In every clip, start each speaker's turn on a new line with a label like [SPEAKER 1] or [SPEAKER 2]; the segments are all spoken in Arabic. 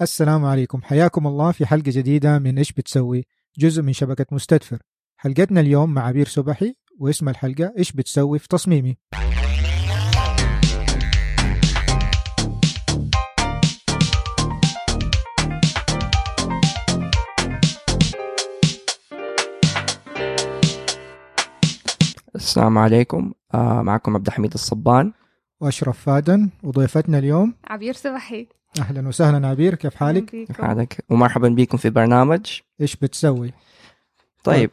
[SPEAKER 1] السلام عليكم حياكم الله في حلقة جديدة من إيش بتسوي جزء من شبكة مستدفر حلقتنا اليوم مع عبير صبحي واسم الحلقة إيش بتسوي في تصميمي
[SPEAKER 2] السلام عليكم آه معكم عبد الحميد الصبان
[SPEAKER 1] وأشرف فادن وضيفتنا اليوم
[SPEAKER 3] عبير صبحي
[SPEAKER 1] أهلا وسهلا عبير كيف حالك
[SPEAKER 3] أهلاً بيكم.
[SPEAKER 2] كيف حالك ومرحبا بكم في برنامج
[SPEAKER 1] إيش بتسوي
[SPEAKER 2] طيب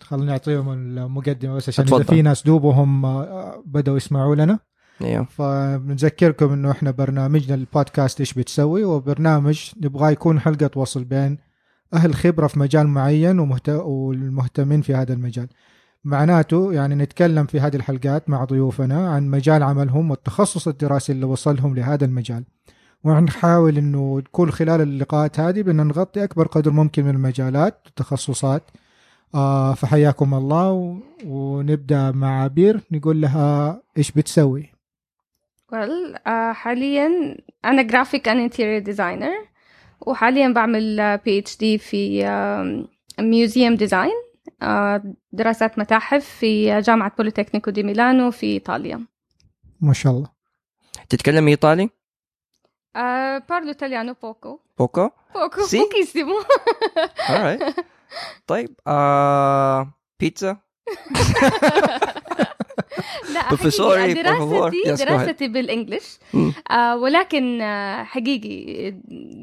[SPEAKER 1] خلينا نعطيهم المقدمة بس عشان إذا
[SPEAKER 2] اتفضل.
[SPEAKER 1] في ناس دوبهم آه، بدأوا يسمعوا لنا
[SPEAKER 2] ايوه
[SPEAKER 1] فبنذكركم انه احنا برنامجنا البودكاست ايش بتسوي وبرنامج نبغاه يكون حلقه توصل بين اهل خبره في مجال معين ومهت... والمهتمين في هذا المجال معناته يعني نتكلم في هذه الحلقات مع ضيوفنا عن مجال عملهم والتخصص الدراسي اللي وصلهم لهذا المجال ونحاول انه نكون خلال اللقاءات هذه بدنا نغطي اكبر قدر ممكن من المجالات والتخصصات آه فحياكم الله و... ونبدا مع عبير نقول لها ايش بتسوي
[SPEAKER 3] well, آه، حاليا أنا جرافيك أند انتيريور ديزاينر وحاليا بعمل بي اتش دي في ميوزيوم ديزاين آه، دراسات متاحف في جامعة بوليتكنيكو دي ميلانو في إيطاليا
[SPEAKER 1] ما شاء الله
[SPEAKER 2] تتكلم ايطالي
[SPEAKER 3] آه، بارلو تاليانو بوكو
[SPEAKER 2] بوكو
[SPEAKER 3] بوكو
[SPEAKER 2] Sì.
[SPEAKER 3] بوكيسيمو
[SPEAKER 2] alright. طيب آه بيتزا
[SPEAKER 3] لا
[SPEAKER 2] Professori,
[SPEAKER 3] حقيقي
[SPEAKER 2] per favor.
[SPEAKER 3] دراستي
[SPEAKER 2] Yes, go ahead.
[SPEAKER 3] دراستي بالانجلش
[SPEAKER 2] مم.
[SPEAKER 3] آه، ولكن آه، حقيقي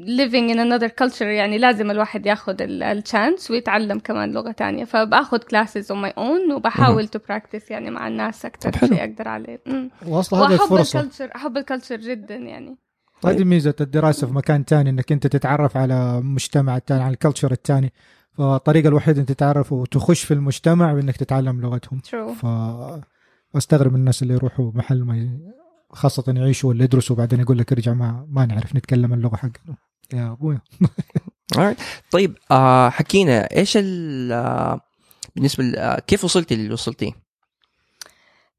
[SPEAKER 3] living in another culture يعني لازم الواحد ياخذ التشانس ويتعلم كمان لغة تانية فباخذ classes on my own وبحاول to practice يعني مع الناس
[SPEAKER 2] طب
[SPEAKER 3] أكثر
[SPEAKER 2] حلو.
[SPEAKER 3] شيء أقدر عليه مم.
[SPEAKER 1] واصلا هذه
[SPEAKER 3] وأحب
[SPEAKER 1] الفرصة
[SPEAKER 3] الكلتشر أحب الكلتشر جدا يعني
[SPEAKER 2] طيب.
[SPEAKER 1] هذه ميزة الدراسة في مكان تاني انك انت تتعرف على مجتمع التاني على الكلتشر التاني فالطريقة الوحيدة انك تتعرف وتخش في المجتمع بانك تتعلم لغتهم
[SPEAKER 3] true
[SPEAKER 1] ف واستغرب من الناس اللي يروحوا محل ما ي- خاصة يعيشوا ولا يدرسوا بعدين يقول لك ارجع ما ما نعرف نتكلم اللغة حقنا يا ابويا
[SPEAKER 2] طيب آه حكينا ايش ال آه، بالنسبه ل- آه، كيف وصلتي للي وصلتي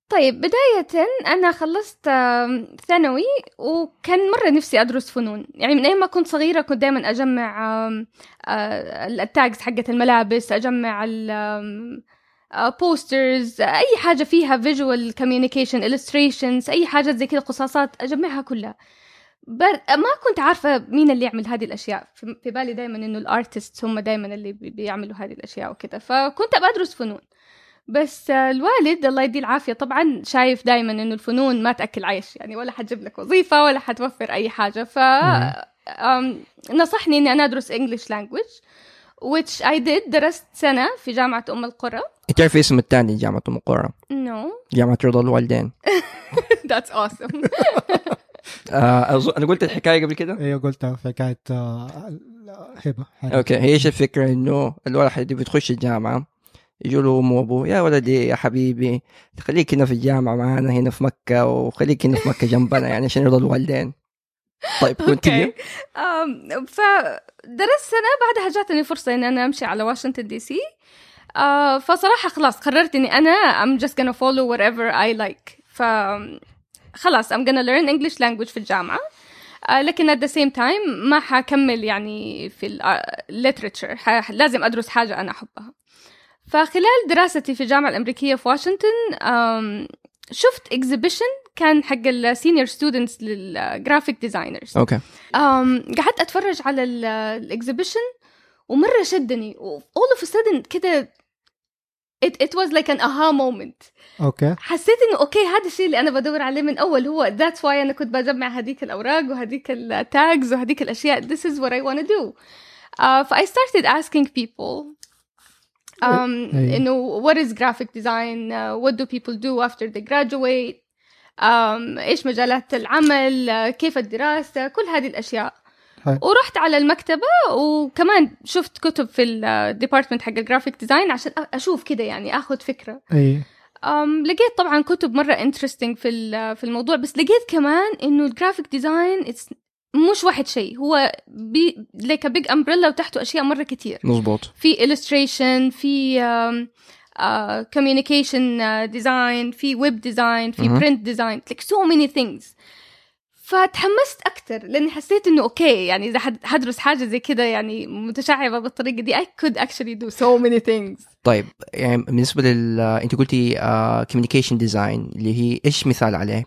[SPEAKER 3] طيب بداية أنا خلصت آم، ثانوي وكان مرة نفسي أدرس فنون يعني من أيام ما كنت صغيرة كنت دائما أجمع آم، آه، التاجز حقت الملابس أجمع البوسترز أي حاجة فيها فيجوال كوميونيكيشن illustrations أي حاجة زي كذا قصاصات أجمعها كلها بر... ما كنت عارفة مين اللي يعمل هذه الأشياء في في بالي دائما إنه الارتست هم دائما اللي بي- بيعملوا هذه الأشياء وكذا فكنت أبغى أدرس فنون بس آه، الوالد الله يديه العافيه طبعا شايف دائما انه الفنون ما تاكل عيش يعني ولا حتجيب لك وظيفه ولا حتوفر اي حاجه ف
[SPEAKER 1] أمم.
[SPEAKER 3] آم، نصحني اني انا ادرس انجلش لانجويج which I did درست سنه في جامعه ام القرى
[SPEAKER 2] تعرفي اسم الثاني جامعه ام القرى
[SPEAKER 3] no
[SPEAKER 2] جامعه رضا الوالدين
[SPEAKER 3] that's awesome
[SPEAKER 2] آه أظن- انا قلت الحكايه قبل كده
[SPEAKER 1] ايوه قلتها في حكاية آه، هبة
[SPEAKER 2] اوكي هي ايش الفكره انه الواحد اللي بتخش الجامعه يجوا له امه وابوه يا ولدي يا حبيبي خليك هنا في الجامعه معانا هنا في مكه وخليك هنا في مكه جنبنا يعني عشان يرضى الوالدين طيب كنت
[SPEAKER 3] اوكي أم، فدرست سنه بعدها جاتني فرصه ان انا امشي على واشنطن دي سي أه، فصراحه خلاص قررت اني انا I'm just gonna follow whatever I like ف خلاص I'm gonna learn English language في الجامعه أه، لكن at the same time ما حكمل يعني في ال literature ح- لازم أدرس حاجة أنا أحبها فخلال دراستي في الجامعة الأمريكية في واشنطن أم، شفت exhibition كان حق السينيور ستودنتس للجرافيك ديزاينرز
[SPEAKER 2] اوكي
[SPEAKER 3] أم، قعدت اتفرج على الاكزيبيشن ومره شدني و all of a sudden كده it, it was like an aha moment
[SPEAKER 1] اوكي
[SPEAKER 3] حسيت انه اوكي هذا الشيء اللي انا بدور عليه من اول هو that's why انا كنت بجمع هذيك الاوراق وهذيك التاجز وهذيك الاشياء this is what I want to do uh, ف I started asking people um,
[SPEAKER 1] أي.
[SPEAKER 3] انه what is graphic design uh, what do people do after they graduate um, ايش مجالات العمل uh, كيف الدراسة كل هذه الاشياء
[SPEAKER 1] حلو.
[SPEAKER 3] ورحت على المكتبة وكمان شفت كتب في الديبارتمنت حق الجرافيك ديزاين عشان أ- اشوف كده يعني اخذ فكرة
[SPEAKER 1] اي
[SPEAKER 3] أم لقيت طبعا كتب مرة انترستنج في ال- في الموضوع بس لقيت كمان انه الجرافيك ديزاين مش واحد شيء هو بي ليك بيج امبريلا وتحته اشياء مرة كتير
[SPEAKER 2] مظبوط
[SPEAKER 3] في illustration في um, uh, communication uh, design في web design في
[SPEAKER 2] مهم.
[SPEAKER 3] print design like so many things ف فتحمست اكثر لاني حسيت انه اوكي يعني اذا حد- حدرس حاجه زي كده يعني متشعبه بالطريقه دي I could actually do so many things
[SPEAKER 2] طيب يعني بالنسبه لل انت قلتي كوميونيكيشن ديزاين اللي هي ايش مثال عليه؟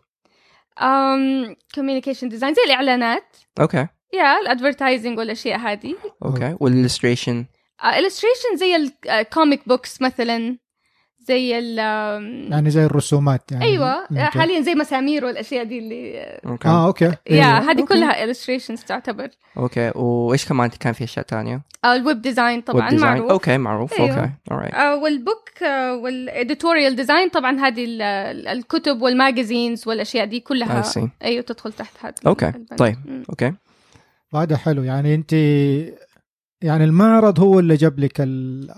[SPEAKER 3] um, communication design زي الاعلانات
[SPEAKER 2] اوكي
[SPEAKER 3] يا الادفرتايزنج والاشياء هذه
[SPEAKER 2] اوكي والالستريشن
[SPEAKER 3] illustration زي الكوميك بوكس مثلا زي ال آم،
[SPEAKER 1] يعني زي الرسومات يعني
[SPEAKER 3] ايوه
[SPEAKER 1] ممكن.
[SPEAKER 3] حاليا زي مسامير والاشياء دي اللي
[SPEAKER 2] اوكي
[SPEAKER 3] آه.
[SPEAKER 1] اه اوكي
[SPEAKER 2] إيه.
[SPEAKER 3] يا
[SPEAKER 1] أيوة.
[SPEAKER 3] هذه
[SPEAKER 1] أوكي.
[SPEAKER 3] كلها illustrations تعتبر
[SPEAKER 2] اوكي وايش كمان كان في اشياء ثانيه؟
[SPEAKER 3] آه، الويب ديزاين طبعا
[SPEAKER 2] والdesign؟
[SPEAKER 3] معروف
[SPEAKER 2] اوكي معروف
[SPEAKER 3] أيوه.
[SPEAKER 2] اوكي alright.
[SPEAKER 3] آه، والبوك آه، والاديتوريال ديزاين طبعا هذه ال- ال- الكتب والماجازينز والاشياء دي كلها
[SPEAKER 2] I see.
[SPEAKER 3] ايوه تدخل تحت هذا
[SPEAKER 2] أوكي،
[SPEAKER 3] البند.
[SPEAKER 2] طيب.
[SPEAKER 3] مم.
[SPEAKER 2] اوكي
[SPEAKER 1] هذا حلو يعني انت يعني المعرض هو اللي جاب لك ال...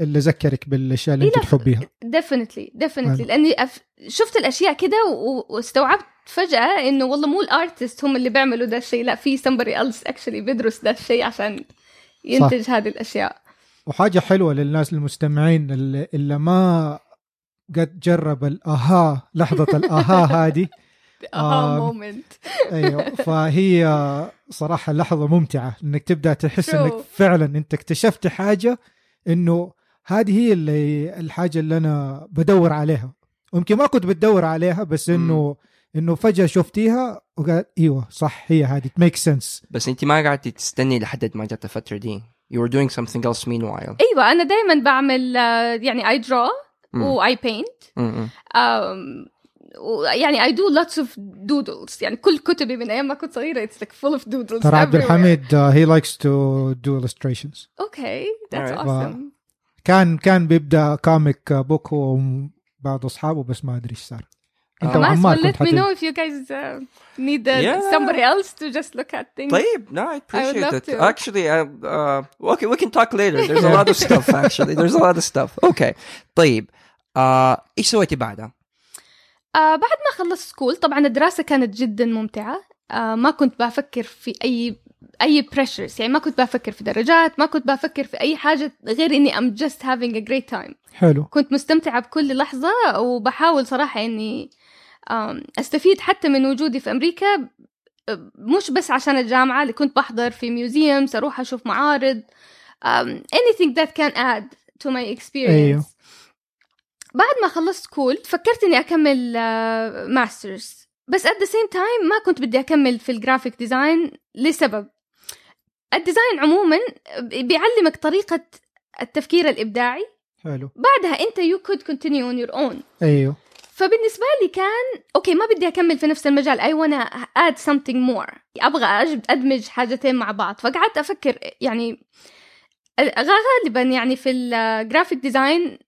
[SPEAKER 1] اللي ذكرك بالاشياء اللي انت
[SPEAKER 3] إيه، لا.
[SPEAKER 1] تحبيها
[SPEAKER 3] ديفنتلي ديفنتلي
[SPEAKER 1] حلو.
[SPEAKER 3] لاني أف... شفت الاشياء كده و... واستوعبت فجاه انه والله مو الارتست هم اللي بيعملوا ده الشيء لا في somebody else actually بيدرس ده الشيء عشان ينتج هذه الاشياء
[SPEAKER 1] وحاجه حلوه للناس المستمعين اللي, اللي ما قد جرب الاها لحظه الاها هذه
[SPEAKER 3] اها
[SPEAKER 1] آم،
[SPEAKER 2] آه.
[SPEAKER 3] مومنت
[SPEAKER 1] ايوه فهي صراحه لحظه ممتعه انك تبدا تحس
[SPEAKER 3] True.
[SPEAKER 1] انك فعلا انت اكتشفت حاجه انه هذه هي اللي الحاجه اللي انا بدور عليها يمكن ما كنت بتدور عليها بس انه انه فجاه شفتيها وقال ايوه صح هي هذه ميك سنس
[SPEAKER 2] بس انت ما قعدتي تستني لحد ما جت الفتره دي you were doing something else meanwhile
[SPEAKER 3] ايوه انا دائما بعمل آه، يعني اي درا
[SPEAKER 2] مم.
[SPEAKER 3] واي بينت
[SPEAKER 2] مم.
[SPEAKER 3] um, و- يعني اي دو لوتس اوف دودلز يعني كل كتبي من ايام ما كنت صغيره اتس لايك فول اوف دودلز
[SPEAKER 1] ترى عبد الحميد آه، هي لايكس تو دو illustrations
[SPEAKER 3] اوكي ذاتس
[SPEAKER 2] Alright.
[SPEAKER 3] اوسم
[SPEAKER 1] كان كان بيبدا كوميك بوك هو بعض اصحابه بس ما ادري ايش صار انت
[SPEAKER 2] آه.
[SPEAKER 3] خلاص
[SPEAKER 1] وعمار
[SPEAKER 3] well
[SPEAKER 1] كنت
[SPEAKER 3] let me
[SPEAKER 1] حتبدا
[SPEAKER 3] know if you guys uh, need uh,
[SPEAKER 2] Yeah.
[SPEAKER 3] somebody else to just look at things
[SPEAKER 2] طيب no I appreciate
[SPEAKER 3] love
[SPEAKER 2] it
[SPEAKER 3] to.
[SPEAKER 2] actually uh, uh, okay we can talk later there's a lot of stuff actually there's a lot of stuff okay طيب uh, ايش سويتي بعدها؟
[SPEAKER 3] آه بعد ما خلصت سكول طبعا الدراسة كانت جدا ممتعة آه ما كنت بفكر في أي أي بريشرز يعني ما كنت بفكر في درجات ما كنت بفكر في أي حاجة غير إني I'm just having a great time
[SPEAKER 1] حلو
[SPEAKER 3] كنت مستمتعة بكل لحظة وبحاول صراحة إني آم، أستفيد حتى من وجودي في أمريكا ب- مش بس عشان الجامعة اللي كنت بحضر في ميوزيومز أروح أشوف معارض آم، anything that can add to my experience
[SPEAKER 1] أيوه.
[SPEAKER 3] بعد ما خلصت كول فكرت إني أكمل ماسترز بس at the same time ما كنت بدي أكمل في الجرافيك ديزاين لسبب الديزاين عموما بيعلمك طريقة التفكير الإبداعي
[SPEAKER 1] حلو
[SPEAKER 3] بعدها انت يو كود كونتينيو اون يور اون
[SPEAKER 1] ايوه
[SPEAKER 3] فبالنسبه لي كان اوكي ما بدي اكمل في نفس المجال اي وانا اد سمثينج مور ابغى أجب- ادمج حاجتين مع بعض فقعدت افكر يعني غالبا يعني في الجرافيك ديزاين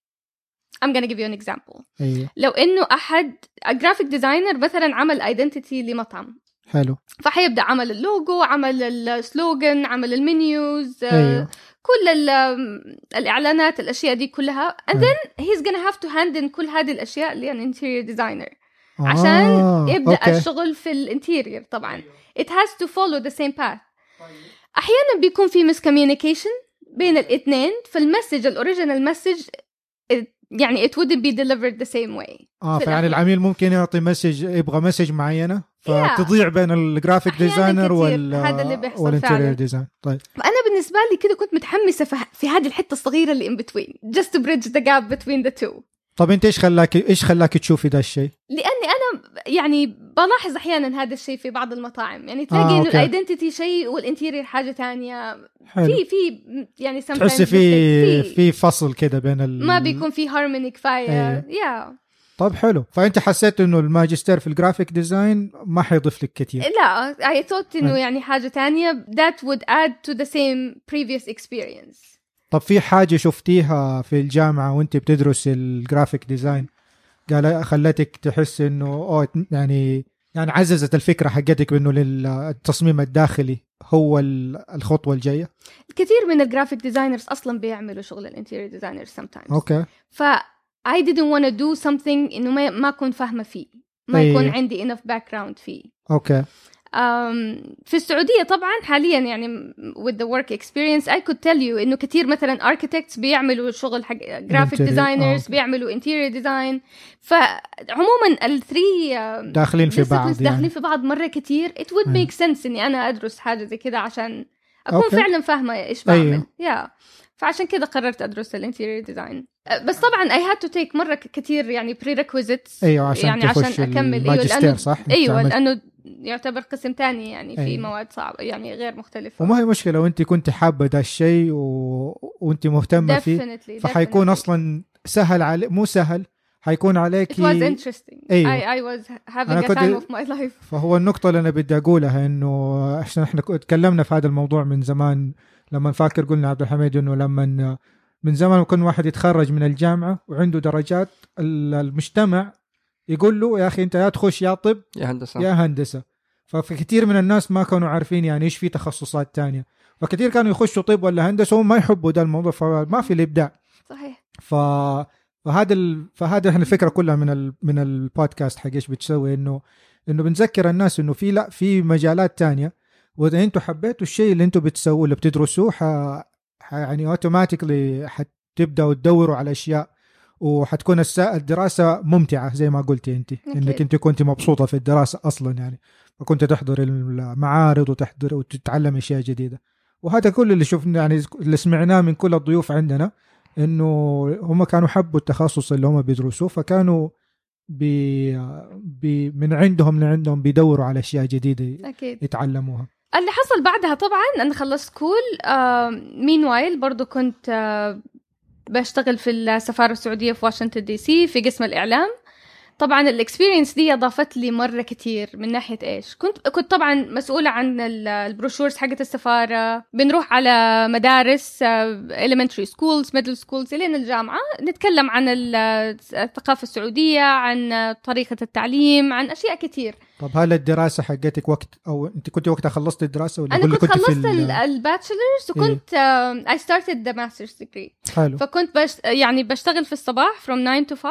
[SPEAKER 3] I'm gonna give you an example
[SPEAKER 1] ايوه
[SPEAKER 3] لو انه احد جرافيك ديزاينر مثلا عمل ايدنتيتي لمطعم
[SPEAKER 1] حلو
[SPEAKER 3] فحيبدا عمل اللوجو عمل السلوجن عمل المنيوز آه،
[SPEAKER 1] ايوه
[SPEAKER 3] كل ال- الاعلانات الاشياء دي كلها and then he's gonna have to hand in كل هذه الاشياء لان interior designer عشان
[SPEAKER 1] آه،
[SPEAKER 3] يبدا
[SPEAKER 1] أوكي.
[SPEAKER 3] الشغل في الانتيرير طبعا it has to follow the same path احيانا بيكون في miscommunication بين الاثنين فالمسج الاوريجينال مسج يعني it wouldn't be delivered the same way
[SPEAKER 1] اه
[SPEAKER 3] في
[SPEAKER 1] فيعني
[SPEAKER 3] الأخير.
[SPEAKER 1] العميل ممكن يعطي مسج يبغى مسج معينه فتضيع بين الجرافيك
[SPEAKER 3] أحياناً
[SPEAKER 1] ديزاينر
[SPEAKER 3] كتير
[SPEAKER 1] وال
[SPEAKER 3] هذا اللي بيحصل
[SPEAKER 1] والانتيريور
[SPEAKER 3] فعلاً.
[SPEAKER 1] ديزاين طيب
[SPEAKER 3] فانا بالنسبه لي كده كنت متحمسه في- في هذه الحته الصغيره اللي in between just to bridge the gap between the two
[SPEAKER 1] طب انت ايش خلاك ايش خلاك تشوفي ذا الشيء؟
[SPEAKER 3] لاني انا يعني بلاحظ احيانا هذا الشيء في بعض المطاعم يعني تلاقي
[SPEAKER 1] آه،
[SPEAKER 3] انه
[SPEAKER 1] أوكي.
[SPEAKER 3] الايدنتيتي شيء والانتيرير حاجه تانية
[SPEAKER 1] حلو
[SPEAKER 3] في في يعني sometimes
[SPEAKER 1] تحسي في
[SPEAKER 3] mistakes.
[SPEAKER 1] في فصل كده بين ال...
[SPEAKER 3] ما بيكون في هارموني كفايه
[SPEAKER 1] أيوه.
[SPEAKER 3] يا
[SPEAKER 1] طب حلو فانت حسيت انه الماجستير في الجرافيك ديزاين ما حيضيف لك كثير
[SPEAKER 3] لا I thought انه
[SPEAKER 1] حلو.
[SPEAKER 3] يعني حاجه تانية that would add to the same previous experience
[SPEAKER 1] طب في حاجه شفتيها في الجامعه وانت بتدرس الجرافيك ديزاين قال خلتك تحس انه اوه يعني يعني عززت الفكره حقتك بانه لل- التصميم الداخلي هو ال- الخطوه الجايه
[SPEAKER 3] كثير من الجرافيك ديزاينرز اصلا بيعملوا شغل الانتيرير ديزاينر sometimes
[SPEAKER 1] اوكي
[SPEAKER 3] ف I didn't want to do something انه ما ما اكون فاهمه فيه ما
[SPEAKER 1] أيوه.
[SPEAKER 3] يكون عندي enough background فيه
[SPEAKER 1] اوكي
[SPEAKER 3] أم، في السعودية طبعا حاليا يعني م- with the work experience I could tell you انه كثير مثلا architects بيعملوا شغل حق graphic
[SPEAKER 1] Interior، آه،
[SPEAKER 3] designers
[SPEAKER 1] أوكي.
[SPEAKER 3] بيعملوا interior design فعموما الثري
[SPEAKER 1] داخلين في بعض
[SPEAKER 3] داخلين
[SPEAKER 1] يعني
[SPEAKER 3] في بعض مرة كثير it would
[SPEAKER 1] أيوة.
[SPEAKER 3] make sense اني انا ادرس حاجة زي كذا عشان اكون
[SPEAKER 1] أوكي.
[SPEAKER 3] أوكي. فعلا فاهمة ايش
[SPEAKER 1] أيوة.
[SPEAKER 3] بعمل يا yeah. فعشان كذا قررت ادرس الانتيريور ديزاين أه، بس طبعا I had to take مرة كثير يعني prerequisites
[SPEAKER 1] ايوه عشان
[SPEAKER 3] يعني
[SPEAKER 1] تخش
[SPEAKER 3] عشان أكمل، أيوة،
[SPEAKER 1] الماجستير
[SPEAKER 3] لأنه-
[SPEAKER 1] صح؟
[SPEAKER 3] ايوه
[SPEAKER 1] تعمل-
[SPEAKER 3] لانه يعتبر قسم تاني يعني في
[SPEAKER 1] أيوة.
[SPEAKER 3] مواد صعبه يعني غير مختلفه
[SPEAKER 1] وما هي مشكله وانت كنت حابه ده الشيء و... وانت مهتمه فيه
[SPEAKER 3] Definitely,
[SPEAKER 1] فحيكون
[SPEAKER 3] definitely.
[SPEAKER 1] اصلا سهل علي مو سهل حيكون عليك
[SPEAKER 3] It was interesting.
[SPEAKER 1] أيوة.
[SPEAKER 3] I, I was having
[SPEAKER 1] أنا
[SPEAKER 3] a
[SPEAKER 1] كنت-
[SPEAKER 3] time of my life.
[SPEAKER 1] فهو النقطة اللي أنا بدي أقولها إنه عشان إحنا كو- تكلمنا في هذا الموضوع من زمان لما نفكر قلنا عبد الحميد إنه لما من زمان كل واحد يتخرج من الجامعة وعنده درجات ال- المجتمع يقول له يا أخي أنت يا تخش يا طب
[SPEAKER 2] يا هندسه
[SPEAKER 1] يا هندسة ففي كثير من الناس ما كانوا عارفين يعني إيش في تخصصات تانية فكثير كانوا يخشوا طب ولا هندسة وهم ما يحبوا ده الموضوع فما في الإبداع
[SPEAKER 3] صحيح.
[SPEAKER 1] ف فهذا ال... فهذا احنا الفكره كلها من ال... من البودكاست حق ايش بتسوي انه انه بنذكر الناس انه في لا في مجالات تانية واذا انتم حبيتوا الشيء اللي انتم بتسووه اللي بتدرسوه ح... ح... يعني اوتوماتيكلي حتبداوا تدوروا على اشياء وحتكون الس... الدراسه ممتعه زي ما قلتي انت
[SPEAKER 3] أكيد.
[SPEAKER 1] انك انت كنت مبسوطه في الدراسه اصلا يعني فكنت تحضر المعارض وتحضر وتتعلم اشياء جديده وهذا كل اللي شفنا يعني اللي سمعناه من كل الضيوف عندنا انه هم كانوا حبوا التخصص اللي هم بيدرسوه فكانوا بي بي من عندهم لعندهم بيدوروا على اشياء جديده
[SPEAKER 3] اكيد.
[SPEAKER 1] يتعلموها
[SPEAKER 3] اللي حصل بعدها طبعا انا خلصت كول مين وايل برضو كنت آه، بشتغل في السفاره السعوديه في واشنطن دي سي في قسم الاعلام طبعا الاكسبيرينس دي اضافت لي مره كتير من ناحيه ايش كنت كنت طبعا مسؤوله عن ال- البروشورز حقت السفاره بنروح على مدارس آه، elementary schools middle schools الين الجامعه نتكلم عن ال- الثقافه السعوديه عن آه، طريقه التعليم عن اشياء كتير
[SPEAKER 1] طب هل الدراسه حقتك وقت او انت كنت وقتها خلصت الدراسه ولا
[SPEAKER 3] انا
[SPEAKER 1] ولا
[SPEAKER 3] كنت
[SPEAKER 1] في
[SPEAKER 3] خلصت
[SPEAKER 1] ال-
[SPEAKER 3] الباتشلرز
[SPEAKER 2] إيه.
[SPEAKER 3] وكنت آه، اي ستارتد ذا ماسترز ديجري
[SPEAKER 1] حلو
[SPEAKER 3] فكنت بش يعني بشتغل في الصباح from 9 to 5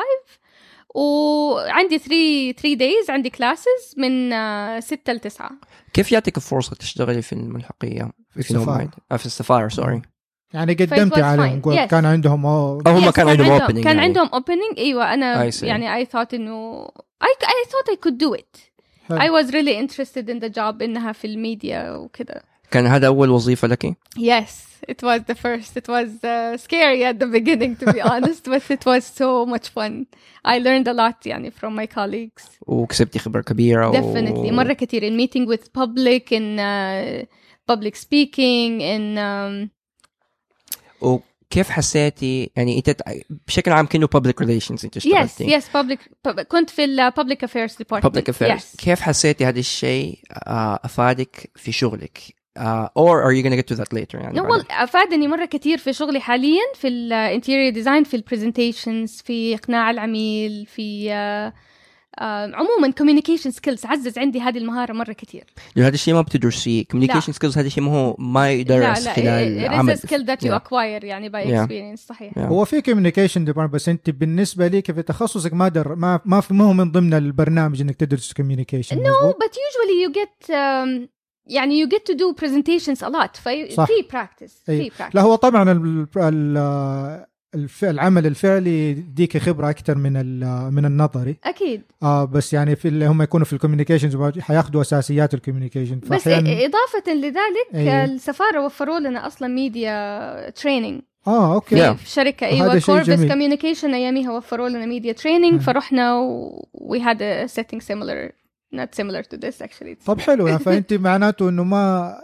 [SPEAKER 3] وعندي 3 3 days عندي classes من آه، 6 ل 9
[SPEAKER 2] كيف يعطيك الفرصه تشتغلي في الملحقيه
[SPEAKER 1] في
[SPEAKER 2] if you don't
[SPEAKER 1] السفارة.
[SPEAKER 2] mind؟ آه، في السفاره سوري
[SPEAKER 1] يعني
[SPEAKER 3] was
[SPEAKER 1] قدمت عليهم
[SPEAKER 3] fine. Yes.
[SPEAKER 1] كان عندهم آه،
[SPEAKER 2] أو هم
[SPEAKER 3] Yes,
[SPEAKER 2] كان عندهم opening
[SPEAKER 3] كان
[SPEAKER 2] يعني.
[SPEAKER 3] عندهم opening ايوه انا
[SPEAKER 2] I see.
[SPEAKER 3] يعني I thought انه I, I thought I could do it
[SPEAKER 1] حلو.
[SPEAKER 3] I was really interested in the job انها في الميديا وكذا
[SPEAKER 2] كان هذا اول وظيفه لك؟
[SPEAKER 3] Yes, it was the first. It was uh, scary at the beginning, to be honest, but it was so much fun. I learned a lot يعني from my colleagues.
[SPEAKER 2] وكسبتي خبره كبيره و... Oh.
[SPEAKER 3] Definitely. مرة كتير in meeting with public, in uh, public speaking, in... Um,
[SPEAKER 2] وكيف حسيتي يعني انت تع- بشكل عام كانه public relations انت
[SPEAKER 3] yes,
[SPEAKER 2] اشتغلتي
[SPEAKER 3] yes, public. pub- كنت في ال uh, public affairs department.
[SPEAKER 2] public affairs
[SPEAKER 3] Yes.
[SPEAKER 2] كيف حسيتي هذا الشيء آه، افادك في شغلك آه، Uh, or are you gonna get to that later يعني
[SPEAKER 3] No,
[SPEAKER 2] بعدين.
[SPEAKER 3] well, افادني مره كتير في شغلي حاليا في الانتيريور ديزاين في البرزنتيشنز في اقناع العميل في آه، آه، عموما كوميونيكيشن سكيلز عزز عندي هذه المهاره مره كتير
[SPEAKER 2] لأنه هذا الشيء ما بتدرسيه communication skills هذا الشيء ما هو ما يدرس خلال عمل
[SPEAKER 3] it is a skill that you
[SPEAKER 2] Yeah.
[SPEAKER 3] acquire يعني by
[SPEAKER 2] Yeah.
[SPEAKER 3] experience صحيح
[SPEAKER 2] Yeah.
[SPEAKER 1] هو في كوميونيكيشن ديبارتمنت بس انت بالنسبه ليك في تخصصك ما در ما ما في- ما هو من ضمن البرنامج انك تدرس كوميونيكيشن
[SPEAKER 3] no but usually you get um, يعني you get to do presentations a lot في
[SPEAKER 1] صح.
[SPEAKER 3] في practice في
[SPEAKER 1] أي.
[SPEAKER 3] practice
[SPEAKER 1] لا هو طبعا ال- ال- الف- العمل الفعلي يديك خبره اكثر من ال- من النظري
[SPEAKER 3] اكيد
[SPEAKER 1] آه بس يعني في اللي هم يكونوا في الكوميونيكيشنز حياخذوا اساسيات الكوميونيكيشن إيه.
[SPEAKER 3] بس إيه، إ- اضافه لذلك
[SPEAKER 1] أي.
[SPEAKER 3] السفاره وفروا لنا اصلا ميديا تريننج
[SPEAKER 1] اه اوكي
[SPEAKER 2] Yeah.
[SPEAKER 3] في شركه
[SPEAKER 1] هذا
[SPEAKER 3] ايوه
[SPEAKER 1] شيء
[SPEAKER 3] كوربس
[SPEAKER 1] جميل.
[SPEAKER 3] كوميونيكيشن اياميها وفروا لنا ميديا تريننج
[SPEAKER 1] مم.
[SPEAKER 3] فرحنا وي هاد a setting similar not similar to this actually
[SPEAKER 1] طب حلو يعني فانت معناته انه ما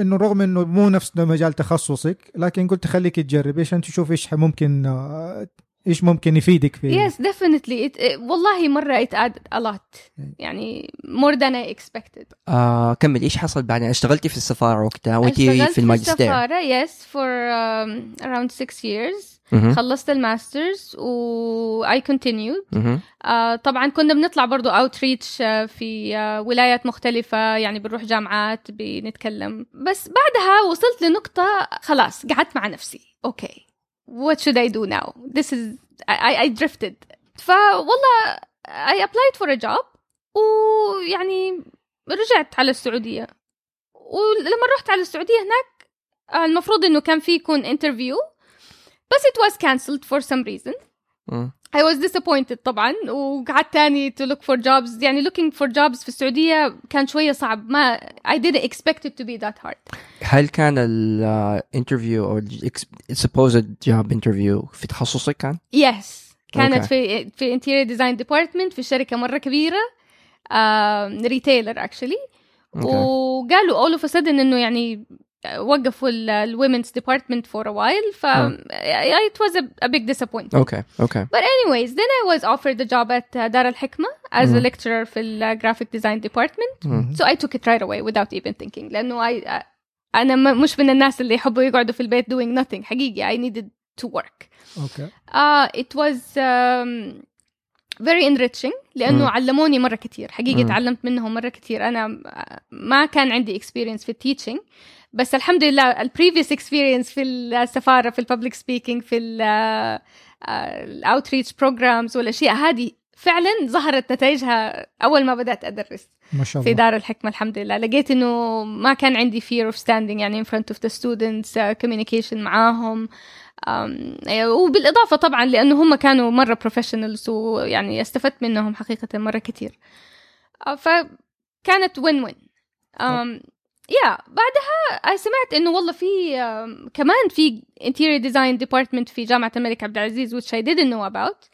[SPEAKER 1] انه رغم انه مو نفس مجال تخصصك لكن قلت خليك تجرب عشان تشوف ايش ممكن آه، ايش ممكن يفيدك في
[SPEAKER 3] Yes, definitely. It, it, والله مرة it added a lot.
[SPEAKER 1] Mm.
[SPEAKER 3] يعني more than I expected.
[SPEAKER 2] آه، Uh, كمل ايش حصل بعدين اشتغلتي في السفاره وقتها وانت
[SPEAKER 3] اشتغلت
[SPEAKER 2] في الماجستير
[SPEAKER 3] السفارة yes for um, around six years.
[SPEAKER 2] مهم.
[SPEAKER 3] خلصت الماسترز و I continued.
[SPEAKER 2] مهم.
[SPEAKER 3] آه، طبعا كنا بنطلع برضو outreach آه، في آه، ولايات مختلفة يعني بنروح جامعات بنتكلم بس بعدها وصلت لنقطة خلاص قعدت مع نفسي اوكي what should I do now this is I, I, I drifted فوالله I applied for a job ويعني رجعت على السعودية ولما رحت على السعودية هناك آه، المفروض انه كان في يكون انترفيو بس it was cancelled for some reason
[SPEAKER 2] مم.
[SPEAKER 3] I was disappointed طبعا وقعدت تاني to look for jobs يعني looking for jobs في السعودية كان شوية صعب ما I didn't expect it to be that hard
[SPEAKER 2] هل كان uh, الانترفيو او السبوزد جاب انترفيو في تخصصك كان؟
[SPEAKER 3] yes كانت
[SPEAKER 2] Okay.
[SPEAKER 3] في في interior design department في شركة مرة كبيرة ريتيلر actually
[SPEAKER 2] أوكي.
[SPEAKER 3] وقالوا all of a sudden انه يعني وقفوا الومن's department for a while ف
[SPEAKER 2] آه.
[SPEAKER 3] it was a, a big disappointment
[SPEAKER 2] اوكي اوكي
[SPEAKER 3] but anyways then I was offered the job at uh, دار الحكمة as a
[SPEAKER 2] مم.
[SPEAKER 3] lecturer في ال graphic design department
[SPEAKER 2] مم.
[SPEAKER 3] so I took it right away without even thinking لأنه I أنا م- مش من الناس اللي يحبوا يقعدوا في البيت doing nothing حقيقي I needed to work
[SPEAKER 1] اوكي
[SPEAKER 3] آه it was um, very enriching لأنه
[SPEAKER 2] مم.
[SPEAKER 3] علموني مرة كثير حقيقة
[SPEAKER 2] مم.
[SPEAKER 3] تعلمت منهم مرة كثير أنا ما كان عندي experience في التيتشنج بس الحمد لله البريفيس experience في السفارة في الببليك speaking في آه، الاوتريتش بروجرامز والأشياء هذه فعلا ظهرت نتائجها أول ما بدأت أدرس
[SPEAKER 1] ما شاء
[SPEAKER 3] في
[SPEAKER 1] الله
[SPEAKER 3] دار الحكمة الحمد لله لقيت انه ما كان عندي fear of standing يعني in front of the students uh, communication معاهم أم، أيوة، وبالإضافة طبعا لأنه هم كانوا مرة professionals ويعني استفدت منهم حقيقة مرة كتير أه، فكانت win win أم، يا بعدها أه، سمعت انه والله في أم، كمان في interior design department في جامعة الملك عبد العزيز which I didn't know about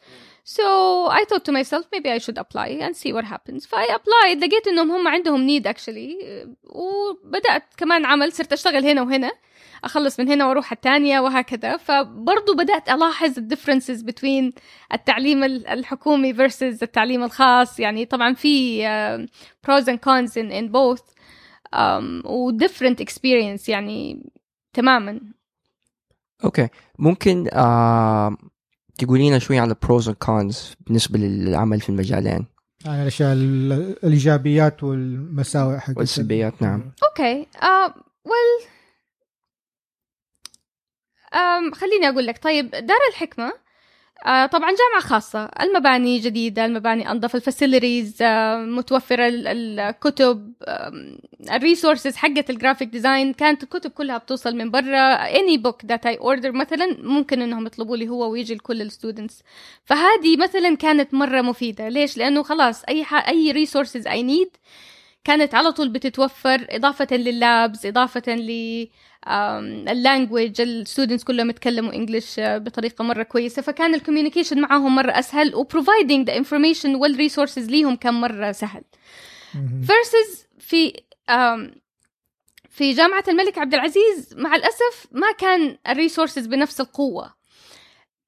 [SPEAKER 3] So I thought to myself maybe I should apply and see what happens. فاي applied لقيت انهم هم عندهم need actually وبدأت كمان عمل صرت اشتغل هنا وهنا اخلص من هنا واروح الثانية وهكذا فبرضو بدأت الاحظ ال differences between التعليم ال- الحكومي versus التعليم الخاص يعني طبعا في uh, pros and cons in, in both um, و different experience يعني تماما
[SPEAKER 2] اوكي ممكن آه تقولي لنا شوي على البروز والكونز بالنسبه للعمل في المجالين
[SPEAKER 1] يعني الاشياء ال- الايجابيات والمساوئ حق
[SPEAKER 2] والسلبيات، نعم.
[SPEAKER 3] اوكي آه ويل آم خليني اقول لك طيب دار الحكمه آه طبعا جامعه خاصه المباني جديده المباني انظف الفاسيلتيز آه متوفره ال- ال- الكتب آم، الريسورسز حقت الجرافيك ديزاين كانت الكتب كلها بتوصل من برا اني بوك ذات اي اوردر مثلا ممكن انهم يطلبوا لي هو ويجي لكل الستودنتس فهذه مثلا كانت مره مفيده ليش لانه خلاص اي ح... اي ريسورسز اي نيد كانت على طول بتتوفر إضافة لللابز إضافة لل اللانجوج الستودنتس كلهم يتكلموا آه، انجلش بطريقه مره كويسه فكان الكوميونيكيشن معاهم مره اسهل وبروفايدنج ذا انفورميشن والريسورسز ليهم كان مره سهل
[SPEAKER 1] مهم.
[SPEAKER 3] فيرسز في آم، في جامعة الملك عبد العزيز مع الأسف ما كان الريسورسز بنفس القوة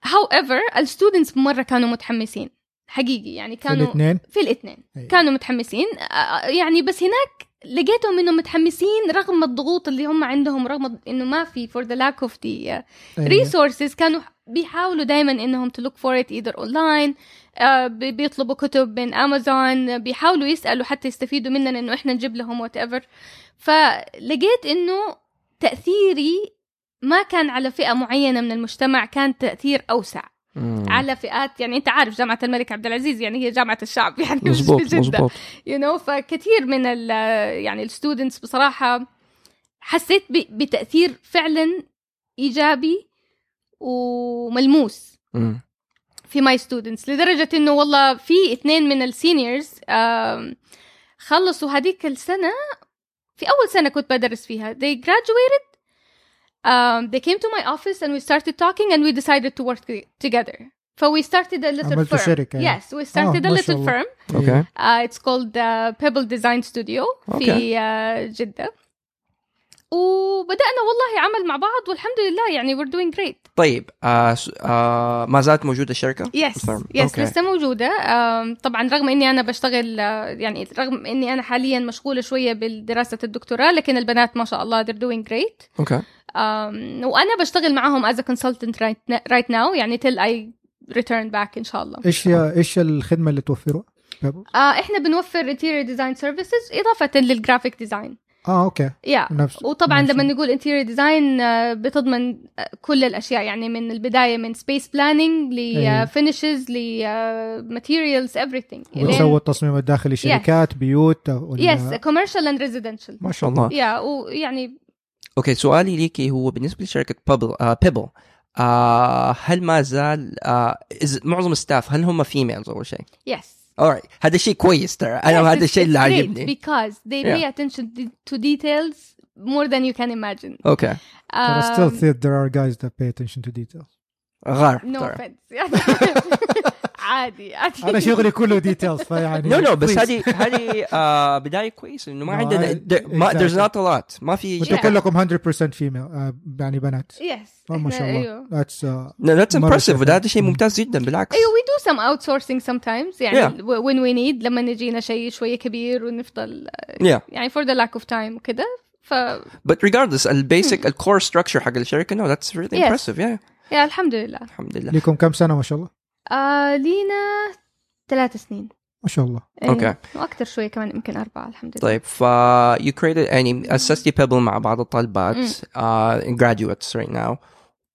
[SPEAKER 3] however الستودنتس مرة كانوا متحمسين حقيقي يعني
[SPEAKER 1] في
[SPEAKER 3] كانوا
[SPEAKER 1] الاثنين
[SPEAKER 3] في الاثنين
[SPEAKER 1] أي.
[SPEAKER 3] كانوا متحمسين آه، يعني بس هناك لقيتهم انهم متحمسين رغم الضغوط اللي هم عندهم رغم انه ما في for the lack of the uh,
[SPEAKER 1] أي.
[SPEAKER 3] resources كانوا بيحاولوا دائما انهم to look for it either online آه، بي- بيطلبوا كتب من امازون بيحاولوا يسالوا حتى يستفيدوا مننا انه احنا نجيب لهم whatever فلقيت انه تاثيري ما كان على فئه معينه من المجتمع كان تاثير اوسع
[SPEAKER 2] مم.
[SPEAKER 3] على فئات يعني انت عارف جامعه الملك عبد العزيز يعني هي جامعه الشعب يعني مش
[SPEAKER 2] مزبوط
[SPEAKER 3] في جدة.
[SPEAKER 2] مزبوط
[SPEAKER 3] يو you know, فكثير من ال يعني الستودنتس بصراحه حسيت ب- بتاثير فعلا ايجابي وملموس
[SPEAKER 2] مم.
[SPEAKER 3] في ماي ستودنتس لدرجه انه والله في اثنين من السينيورز آم، خلصوا هذيك السنه في اول سنه كنت بدرس فيها they graduated um, they came to my office and we started talking and we decided to work together ف we started a little
[SPEAKER 1] عملتوا
[SPEAKER 3] firm
[SPEAKER 1] شركة يعني.
[SPEAKER 3] yes we started
[SPEAKER 1] آه،
[SPEAKER 3] a
[SPEAKER 1] ما شاء
[SPEAKER 3] little
[SPEAKER 1] الله.
[SPEAKER 3] firm
[SPEAKER 2] اوكي
[SPEAKER 3] Uh, it's called uh, Pebble Design Studio
[SPEAKER 2] أوكي.
[SPEAKER 3] في uh, جدة وبدأنا والله عمل مع بعض والحمد لله يعني we're doing great
[SPEAKER 2] طيب آه س- آه ما زالت موجوده الشركه؟
[SPEAKER 3] يس
[SPEAKER 2] Firm.
[SPEAKER 3] يس
[SPEAKER 2] أوكي.
[SPEAKER 3] لسه موجودة um, طبعا رغم اني انا بشتغل uh, يعني رغم اني انا حاليا مشغولة شوية بالدراسة الدكتوراه لكن البنات ما شاء الله they're doing great
[SPEAKER 2] اوكي
[SPEAKER 3] um, وانا بشتغل معاهم as a consultant right, right now يعني till I return back ان شاء الله Uh,
[SPEAKER 1] ايش يا- ايش الخدمه اللي توفروها؟
[SPEAKER 3] آه، احنا بنوفر interior design services اضافه للجرافيك ديزاين
[SPEAKER 1] اه اوكي
[SPEAKER 3] يا
[SPEAKER 1] نفس
[SPEAKER 3] وطبعا
[SPEAKER 1] نفس-
[SPEAKER 3] لما نقول انتيريور ديزاين بتضمن آه، كل الاشياء يعني من البدايه من سبيس بلاننج
[SPEAKER 1] أيوة.
[SPEAKER 3] لفينشز آه، لماتيريالز ايفريثينج
[SPEAKER 1] ويسووا التصميم الداخلي شركات بيوت ولا
[SPEAKER 3] يس كوميرشال اند ريزيدنشال
[SPEAKER 2] ما شاء الله
[SPEAKER 3] يا ويعني
[SPEAKER 2] اوكي سؤالي ليكي هو بالنسبه لشركه بيبل آه بيبل آه هل ما زال آه إز- معظم الستاف هل هم فيميلز اول شيء؟
[SPEAKER 3] يس
[SPEAKER 2] alright هذا شيء كويس ترى
[SPEAKER 1] أيوة،
[SPEAKER 2] انا هذا الشيء اللي عاجبني
[SPEAKER 3] because they
[SPEAKER 2] Yeah.
[SPEAKER 3] pay attention to details more than you can imagine
[SPEAKER 2] اوكي
[SPEAKER 1] ترى
[SPEAKER 3] Um,
[SPEAKER 1] still think there are guys that pay attention to details
[SPEAKER 2] غار
[SPEAKER 3] no
[SPEAKER 2] ترى
[SPEAKER 3] offense يعني عادي عادي
[SPEAKER 1] انا شغلي كله details فيعني
[SPEAKER 2] نو نو بس
[SPEAKER 1] please.
[SPEAKER 2] هذه هذه آه، بدايه كويسه انه ما
[SPEAKER 1] No,
[SPEAKER 2] عندنا
[SPEAKER 1] I-
[SPEAKER 2] there- ما
[SPEAKER 1] exactly.
[SPEAKER 2] there's not a lot ما في
[SPEAKER 1] انتوا
[SPEAKER 3] Yeah.
[SPEAKER 1] كلكم 100% female آه، يعني بنات
[SPEAKER 3] يس
[SPEAKER 1] آه، ما شاء الله
[SPEAKER 3] ايوه
[SPEAKER 1] That's, uh,
[SPEAKER 2] No, that's
[SPEAKER 1] مرة
[SPEAKER 2] impressive
[SPEAKER 1] شايفها.
[SPEAKER 2] وده شيء ممتاز جدا بالعكس
[SPEAKER 3] ايوه we do some outsourcing sometimes
[SPEAKER 2] Yeah.
[SPEAKER 3] يعني when we need لما يجينا شيء شويه كبير ونفضل uh,
[SPEAKER 2] yeah
[SPEAKER 3] يعني for the lack of time وكده ف
[SPEAKER 2] but regardless البيسك الكور ستراكشر حق الشركه no that's really
[SPEAKER 3] Hmm. Yes.
[SPEAKER 2] impressive yeah
[SPEAKER 3] يا الحمد لله
[SPEAKER 2] الحمد لله
[SPEAKER 1] لكم كم سنه ما شاء الله
[SPEAKER 3] آه لينا ثلاث سنين
[SPEAKER 1] ما شاء الله
[SPEAKER 3] أيوة.
[SPEAKER 2] Okay.
[SPEAKER 3] واكثر شويه كمان يمكن اربعه الحمد لله
[SPEAKER 2] طيب ف you created يعني اسستي بيبل مع بعض
[SPEAKER 3] Hmm.
[SPEAKER 2] الطالبات uh, graduates right now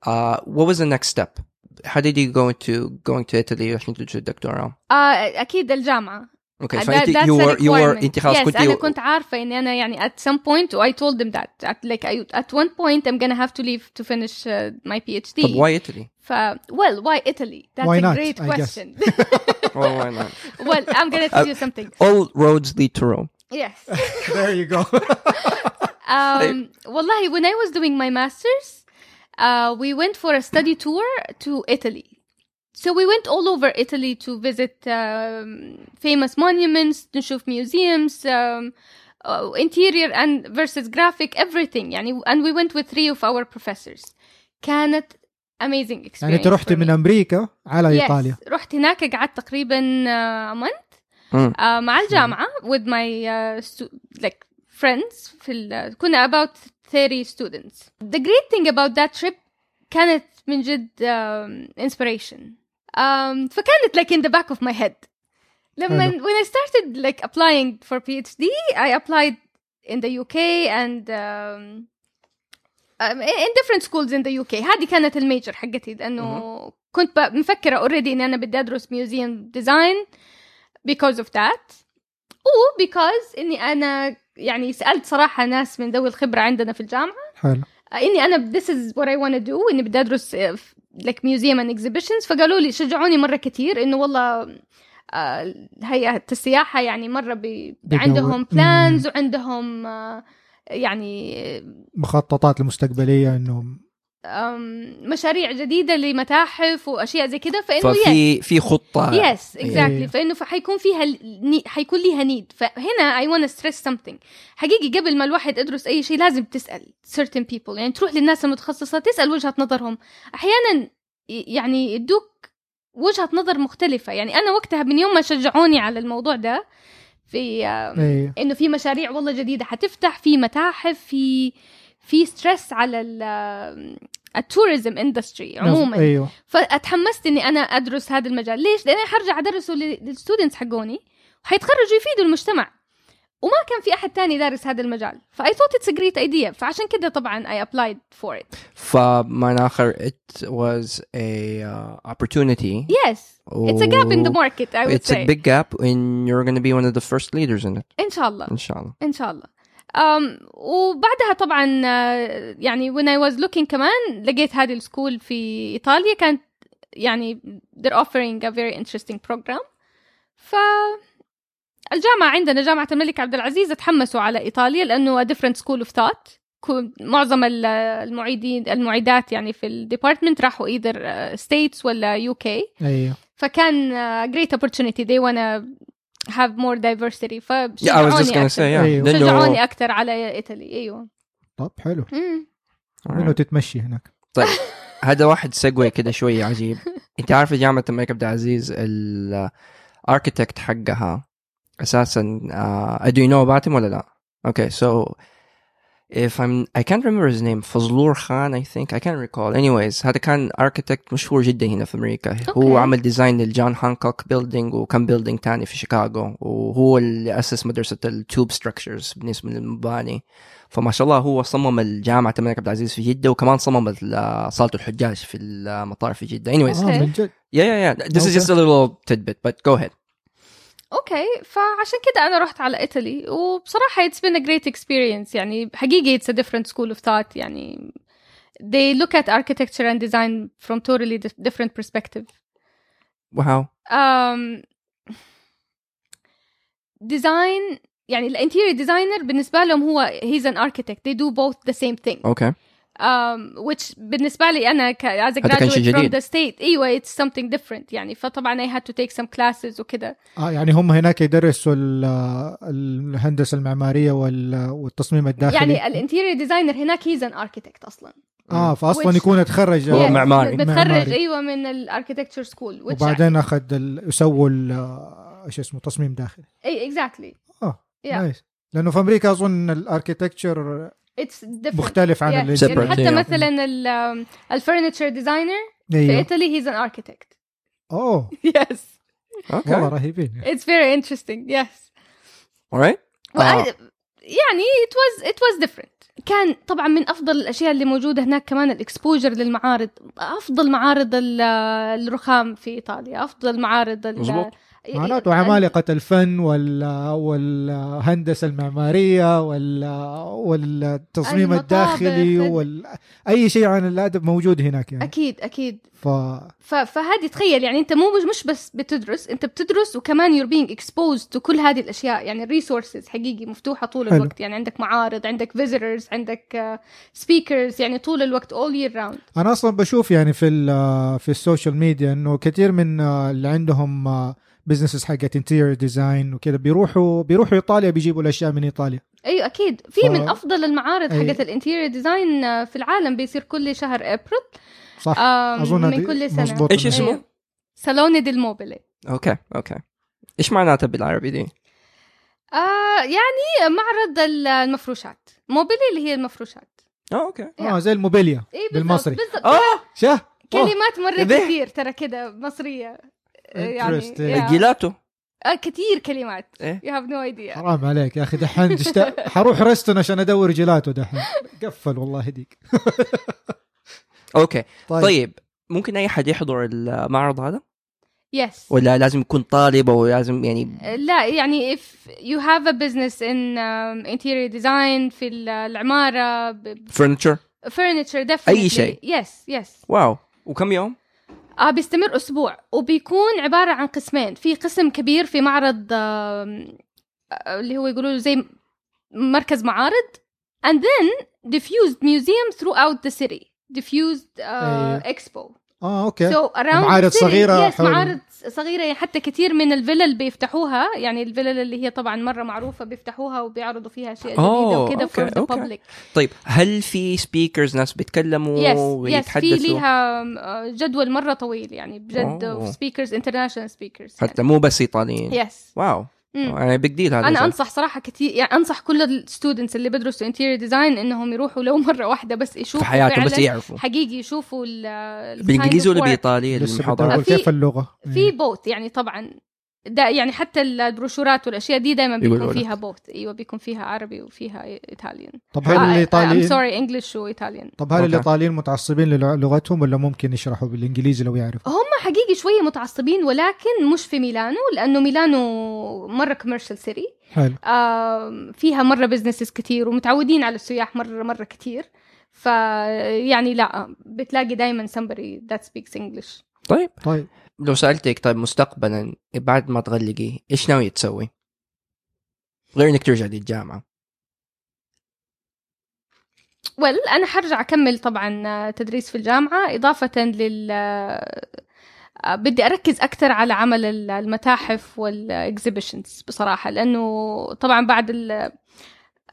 [SPEAKER 2] uh, what was the next step how did you go into going to Italy عشان تدرس الدكتوراه
[SPEAKER 3] آه اكيد الجامعه
[SPEAKER 2] okay so
[SPEAKER 3] Uh, That-
[SPEAKER 2] انت
[SPEAKER 3] that's
[SPEAKER 2] you
[SPEAKER 3] a
[SPEAKER 2] were you were
[SPEAKER 3] requirement.
[SPEAKER 2] انت خلاص
[SPEAKER 3] yes,
[SPEAKER 2] كنت
[SPEAKER 3] انا كنت عارفه اني انا يعني at some point I told them that at like I, at one point I'm gonna have to leave to finish uh, my PhD
[SPEAKER 2] طب why Italy
[SPEAKER 3] ف well why Italy that's
[SPEAKER 1] Why
[SPEAKER 3] a
[SPEAKER 1] not,
[SPEAKER 3] great
[SPEAKER 1] I guess.
[SPEAKER 3] question
[SPEAKER 2] oh, why not
[SPEAKER 3] well I'm gonna tell you something
[SPEAKER 2] all roads lead to Rome
[SPEAKER 3] yes
[SPEAKER 1] there you go
[SPEAKER 3] um, والله when I was doing my masters uh, we went for a study tour to Italy So we went all over Italy to visit um, famous monuments, نشوف museums, um, uh, interior and versus graphic, everything. يعني and we went with three of our professors. كانت amazing experience.
[SPEAKER 1] يعني انت رحت
[SPEAKER 3] for me.
[SPEAKER 1] من امريكا على
[SPEAKER 3] Yes.
[SPEAKER 1] ايطاليا
[SPEAKER 3] رحت هناك قعدت تقريبا uh, a month
[SPEAKER 2] مم.
[SPEAKER 3] uh, مع الجامعة with my uh, stu- like friends في ال, كنا about 30 students. The great thing about that trip كانت من جد um, inspiration. Um, فكانت like in the back of my head. لما
[SPEAKER 1] حلو.
[SPEAKER 3] when I started like applying for PhD I applied in the UK and um, um, in different schools in the UK هذه كانت الميجر حقتي لانه كنت ب- مفكره اوريدي اني انا بدي ادرس ميوزيوم ديزاين because of that و because اني انا يعني سالت صراحه ناس من ذوي الخبره عندنا في الجامعه
[SPEAKER 1] حلو
[SPEAKER 3] اني انا this is what I want to do اني بدي ادرس uh, like museum and exhibitions فقالوا لي شجعوني مره كثير انه والله آه، هيئة السياحة يعني مرة بي...
[SPEAKER 1] بدور.
[SPEAKER 3] عندهم
[SPEAKER 1] مم.
[SPEAKER 3] بلانز وعندهم آه، يعني
[SPEAKER 1] مخططات المستقبليه انه
[SPEAKER 3] آم، مشاريع جديدة لمتاحف وأشياء زي كده فإنه yes.
[SPEAKER 2] ففي آه، في خطه
[SPEAKER 3] يس
[SPEAKER 1] إيه.
[SPEAKER 3] اكزاكتلي فانه ف- حيكون فيها ال- ني- حيكون ليها نيد فهنا اي ونا ستريس something حقيقي قبل ما الواحد يدرس اي شيء لازم تسال certain people يعني تروح للناس المتخصصه تسال وجهه نظرهم احيانا ي- يعني يدوك وجهه نظر مختلفه يعني انا وقتها من يوم ما شجعوني على الموضوع ده في آم،
[SPEAKER 1] ايه
[SPEAKER 3] انه في مشاريع والله جديده حتفتح في متاحف في في ستريس على التوريزم اندستري
[SPEAKER 2] نعم.
[SPEAKER 3] عموما
[SPEAKER 1] ايوه
[SPEAKER 3] فاتحمست اني انا ادرس هذا المجال ليش لاني حرجع ادرسه لل- للستودنتس حقوني وحيتخرجوا يفيدوا المجتمع وما كان في احد تاني دارس هذا المجال فاي ثوت اتس جريت ايديا فعشان كده طبعا اي ابلايد فور ات
[SPEAKER 2] فمعنى اخر it was a uh, opportunity
[SPEAKER 3] يس اتس ا جاب ان ذا ماركت اي وود
[SPEAKER 2] Oh. It's a
[SPEAKER 3] سي
[SPEAKER 2] big gap and you're going to be one of the first leaders in it
[SPEAKER 3] ان شاء الله
[SPEAKER 2] ان شاء الله
[SPEAKER 3] ان شاء الله أم وبعدها طبعا آه، يعني when I was looking كمان لقيت هذه السكول في إيطاليا كانت يعني they're offering a very interesting program ف الجامعة عندنا جامعة الملك عبد العزيز تحمسوا على إيطاليا لأنه a different school of thought كو- معظم ال- المعيدين المعيدات يعني في الديبارتمنت راحوا either آه، states ولا UK
[SPEAKER 1] ايوه
[SPEAKER 3] فكان آه، great opportunity they wanna have more diversity
[SPEAKER 2] yeah, I was
[SPEAKER 3] فشجعوني
[SPEAKER 2] just going to say
[SPEAKER 3] أكثر.
[SPEAKER 2] yeah
[SPEAKER 1] أيوه.
[SPEAKER 2] لأنه-
[SPEAKER 3] شجعوني اكثر على ايطالي ايوه
[SPEAKER 1] طب حلو
[SPEAKER 3] مم.
[SPEAKER 1] منو تتمشي هناك
[SPEAKER 2] طيب هذا واحد سيجوي كده شوية عجيب انت عارفة جامعة الملك عبد العزيز الاركتكت آه، حقها اساسا uh, do you know about him ولا لا؟ اوكي okay, so if I'm I can't remember his name فضلور خان I think I can't recall anyways هذا كان architect مشهور جدا هنا في أمريكا okay. هو عمل ديزاين للجون هانكوك بيلدينج وكم بيلدينج تاني في شيكاغو وهو اللي أسس مدرسة التوب ستراكشرز بالنسبة للمباني فما شاء الله هو صمم الجامعة الملك عبد العزيز في جدة وكمان صمم صالة الحجاج في المطار في جدة anyways
[SPEAKER 1] آه، من جد
[SPEAKER 2] yeah yeah yeah this is
[SPEAKER 1] Okay.
[SPEAKER 2] just a little tidbit but go ahead
[SPEAKER 3] اوكي فعشان كده انا رحت على ايطالي وبصراحه it's been a great experience يعني حقيقي it's a different school of thought يعني they look at architecture and design from totally dif- different perspective
[SPEAKER 2] wow
[SPEAKER 3] um, design يعني الانتيريور ديزاينر بالنسبه لهم هو he's an architect they do both the same thing
[SPEAKER 2] okay
[SPEAKER 3] um, which بالنسبة لي أنا ك as a
[SPEAKER 2] هذا كان شيء
[SPEAKER 3] graduate from
[SPEAKER 2] جديد.
[SPEAKER 3] the state أيوة it's something different يعني فطبعا I had to take some classes وكده
[SPEAKER 1] آه يعني هم هناك يدرسوا ال- الهندسه المعماريه وال- والتصميم الداخلي
[SPEAKER 3] يعني الانتيريور ديزاينر هناك he's an architect أصلا
[SPEAKER 1] اه
[SPEAKER 3] which-
[SPEAKER 1] فاصلا يكون اتخرج
[SPEAKER 2] هو
[SPEAKER 3] Yeah,
[SPEAKER 2] معماري.
[SPEAKER 3] بتخرج
[SPEAKER 1] معماري.
[SPEAKER 3] أيوة من الاركتكتشر سكول which
[SPEAKER 1] وبعدين اخذ ال- يسووا ال- ايش اسمه تصميم داخلي
[SPEAKER 3] أي exactly
[SPEAKER 1] اه
[SPEAKER 3] Yeah.
[SPEAKER 1] نايس لانه في امريكا اظن الاركتكتشر
[SPEAKER 3] it's different
[SPEAKER 1] مختلف عن
[SPEAKER 3] Yeah.
[SPEAKER 1] اللي
[SPEAKER 2] Separate.
[SPEAKER 3] يعني حتى
[SPEAKER 2] Yeah.
[SPEAKER 3] مثلا ال- الفurniture designer في
[SPEAKER 1] ايوه
[SPEAKER 3] إيطالي he's an architect
[SPEAKER 1] اوه
[SPEAKER 3] yes
[SPEAKER 1] والله
[SPEAKER 2] okay
[SPEAKER 1] رهيبين
[SPEAKER 3] it's very interesting yes
[SPEAKER 2] alright
[SPEAKER 3] وأنا-
[SPEAKER 2] آه.
[SPEAKER 3] يعني it was it was different كان طبعا من افضل الاشياء اللي موجوده هناك كمان الاكسبوجر للمعارض افضل معارض ال- الرخام في ايطاليا افضل معارض ال-
[SPEAKER 2] مظبوط.
[SPEAKER 3] يعني
[SPEAKER 1] معناته عمالقة الفن وال والهندسة المعمارية وال والتصميم
[SPEAKER 3] المطابخ،
[SPEAKER 1] الداخلي
[SPEAKER 3] ال-
[SPEAKER 1] وال أي شيء عن الأدب موجود هناك يعني
[SPEAKER 3] اكيد اكيد
[SPEAKER 1] ف
[SPEAKER 3] ف- فهذه تخيل يعني انت مو مش بس بتدرس انت بتدرس وكمان you're being exposed to كل هذه الاشياء يعني الريسورسز حقيقي مفتوحه طول
[SPEAKER 1] حلو.
[SPEAKER 3] الوقت يعني عندك معارض عندك visitors عندك سبيكرز يعني طول الوقت all year round
[SPEAKER 1] أنا أصلا بشوف يعني في ال- في السوشيال ميديا إنه كثير من اللي عندهم بزنسز حقت انتيريور ديزاين وكذا بيروحوا بيروحوا إيطاليا بيجيبوا الأشياء من إيطاليا
[SPEAKER 3] ايوه اكيد في
[SPEAKER 1] ف-
[SPEAKER 3] من افضل المعارض
[SPEAKER 1] أي.
[SPEAKER 3] حقت الانتيريور ديزاين آه، في العالم بيصير كل شهر ابريل
[SPEAKER 1] صح؟
[SPEAKER 3] آم،
[SPEAKER 1] أظن
[SPEAKER 3] من
[SPEAKER 1] هذه
[SPEAKER 3] كل سنه
[SPEAKER 1] مظبوط.
[SPEAKER 2] إيش اسمه؟
[SPEAKER 3] أيوة. سالوني دي الموبيلي
[SPEAKER 2] okay okay ايش معناتها بالعربي دي؟
[SPEAKER 3] آه يعني معرض ال- المفروشات موبيلي اللي هي المفروشات
[SPEAKER 2] اه اوكي
[SPEAKER 1] آه زي الموبيليا
[SPEAKER 3] اي بالضبط
[SPEAKER 1] بالمصري.
[SPEAKER 3] بالضبط
[SPEAKER 2] اه
[SPEAKER 1] شه
[SPEAKER 3] كلمات مره
[SPEAKER 2] ذي.
[SPEAKER 3] كثير ترى كده مصريه آه، يعني
[SPEAKER 1] Interesting.
[SPEAKER 3] yeah.
[SPEAKER 2] الجيلاتو
[SPEAKER 3] آه كثير كلمات
[SPEAKER 2] إيه.
[SPEAKER 3] يو هاف نو ايديا
[SPEAKER 1] حرام عليك يا اخي دحين تشت- حروح ريستون عشان ادور جيلاتو دحين قفل والله هديك
[SPEAKER 2] اوكي طيب ممكن اي حد يحضر المعرض هذا
[SPEAKER 3] يس
[SPEAKER 2] ولا لازم يكون طالب او لازم يعني
[SPEAKER 3] لا يعني if you have a business in um, interior design في ال- العمارة ب-
[SPEAKER 2] فرنتشر
[SPEAKER 3] furniture definitely
[SPEAKER 2] أي شيء.
[SPEAKER 3] يس يس
[SPEAKER 2] واو وكم يوم
[SPEAKER 3] آه بيستمر أسبوع وبيكون عبارة عن قسمين في قسم كبير في معرض آم، آه، اللي هو يقولوا له زي مركز معارض and then diffused museum throughout the city diffused uh,
[SPEAKER 1] أيوة.
[SPEAKER 3] expo
[SPEAKER 1] اه اوكي
[SPEAKER 3] so around
[SPEAKER 1] معارض
[SPEAKER 3] the city.
[SPEAKER 1] صغيرة
[SPEAKER 3] yes,
[SPEAKER 1] حول-
[SPEAKER 3] معارض صغيرة يعني حتى كثير من الفلل بيفتحوها يعني الفلل اللي هي طبعا مرة معروفة بيفتحوها وبيعرضوا فيها أشياء جديدة
[SPEAKER 2] أوه،
[SPEAKER 3] وكذا
[SPEAKER 2] أوكي،
[SPEAKER 3] for the
[SPEAKER 2] أوكي.
[SPEAKER 3] public
[SPEAKER 2] طيب هل في سبيكرز ناس
[SPEAKER 3] يس
[SPEAKER 2] بيتكلموا
[SPEAKER 3] يس في
[SPEAKER 2] ويتحدثوا
[SPEAKER 3] ليها آه، جدول مره طويل يعني بجد
[SPEAKER 2] أوه.
[SPEAKER 3] سبيكرز انترناشونال سبيكرز
[SPEAKER 2] حتى مو بس ايطاليين
[SPEAKER 3] يس
[SPEAKER 2] واو يعني بيج ديل هذا
[SPEAKER 3] انا
[SPEAKER 2] زي.
[SPEAKER 3] انصح صراحه كثير يعني انصح كل الستودنتس اللي بيدرسوا انتيريور ديزاين انهم يروحوا لو مره واحده بس يشوفوا
[SPEAKER 2] في حياتهم بس
[SPEAKER 3] فعلاً
[SPEAKER 2] يعرفوا
[SPEAKER 3] حقيقي يشوفوا ال- ال
[SPEAKER 2] بالانجليزي
[SPEAKER 3] kind
[SPEAKER 2] ولا
[SPEAKER 3] of work.
[SPEAKER 2] بايطالي
[SPEAKER 1] لسه
[SPEAKER 2] المحاضرات
[SPEAKER 1] بدور
[SPEAKER 3] في-
[SPEAKER 1] كيف إيه. اللغه
[SPEAKER 3] في بوت يعني طبعا ده يعني حتى البروشورات والاشياء دي دائما
[SPEAKER 2] يقولوا
[SPEAKER 3] بيكون
[SPEAKER 2] لك.
[SPEAKER 3] فيها بوت ايوه بيكون فيها عربي وفيها آه، ايطاليان
[SPEAKER 1] طب هل
[SPEAKER 3] ام
[SPEAKER 1] الايطاليين
[SPEAKER 3] سوري انجلش وايطاليان
[SPEAKER 1] طب هل
[SPEAKER 2] أوكي.
[SPEAKER 1] الايطاليين متعصبين للغتهم ولا ممكن يشرحوا بالانجليزي لو يعرفوا؟
[SPEAKER 3] هم حقيقي شوية متعصبين ولكن مش في ميلانو لأنه ميلانو مرة كوميرشال سيتي
[SPEAKER 1] حلو
[SPEAKER 3] فيها مرة بزنسز كتير ومتعودين على السياح مرة مرة كتير فيعني لا بتلاقي دايما somebody that speaks English
[SPEAKER 2] طيب
[SPEAKER 1] طيب
[SPEAKER 2] لو سالتك طيب مستقبلا بعد ما تغلقي ايش ناوي تسوي؟ غير انك ترجع للجامعه
[SPEAKER 3] well أنا حرجع أكمل طبعا تدريس في الجامعة إضافة لل آه، بدي أركز أكثر على عمل ال- المتاحف والإكزيبيشنز بصراحة لأنه طبعا بعد ال-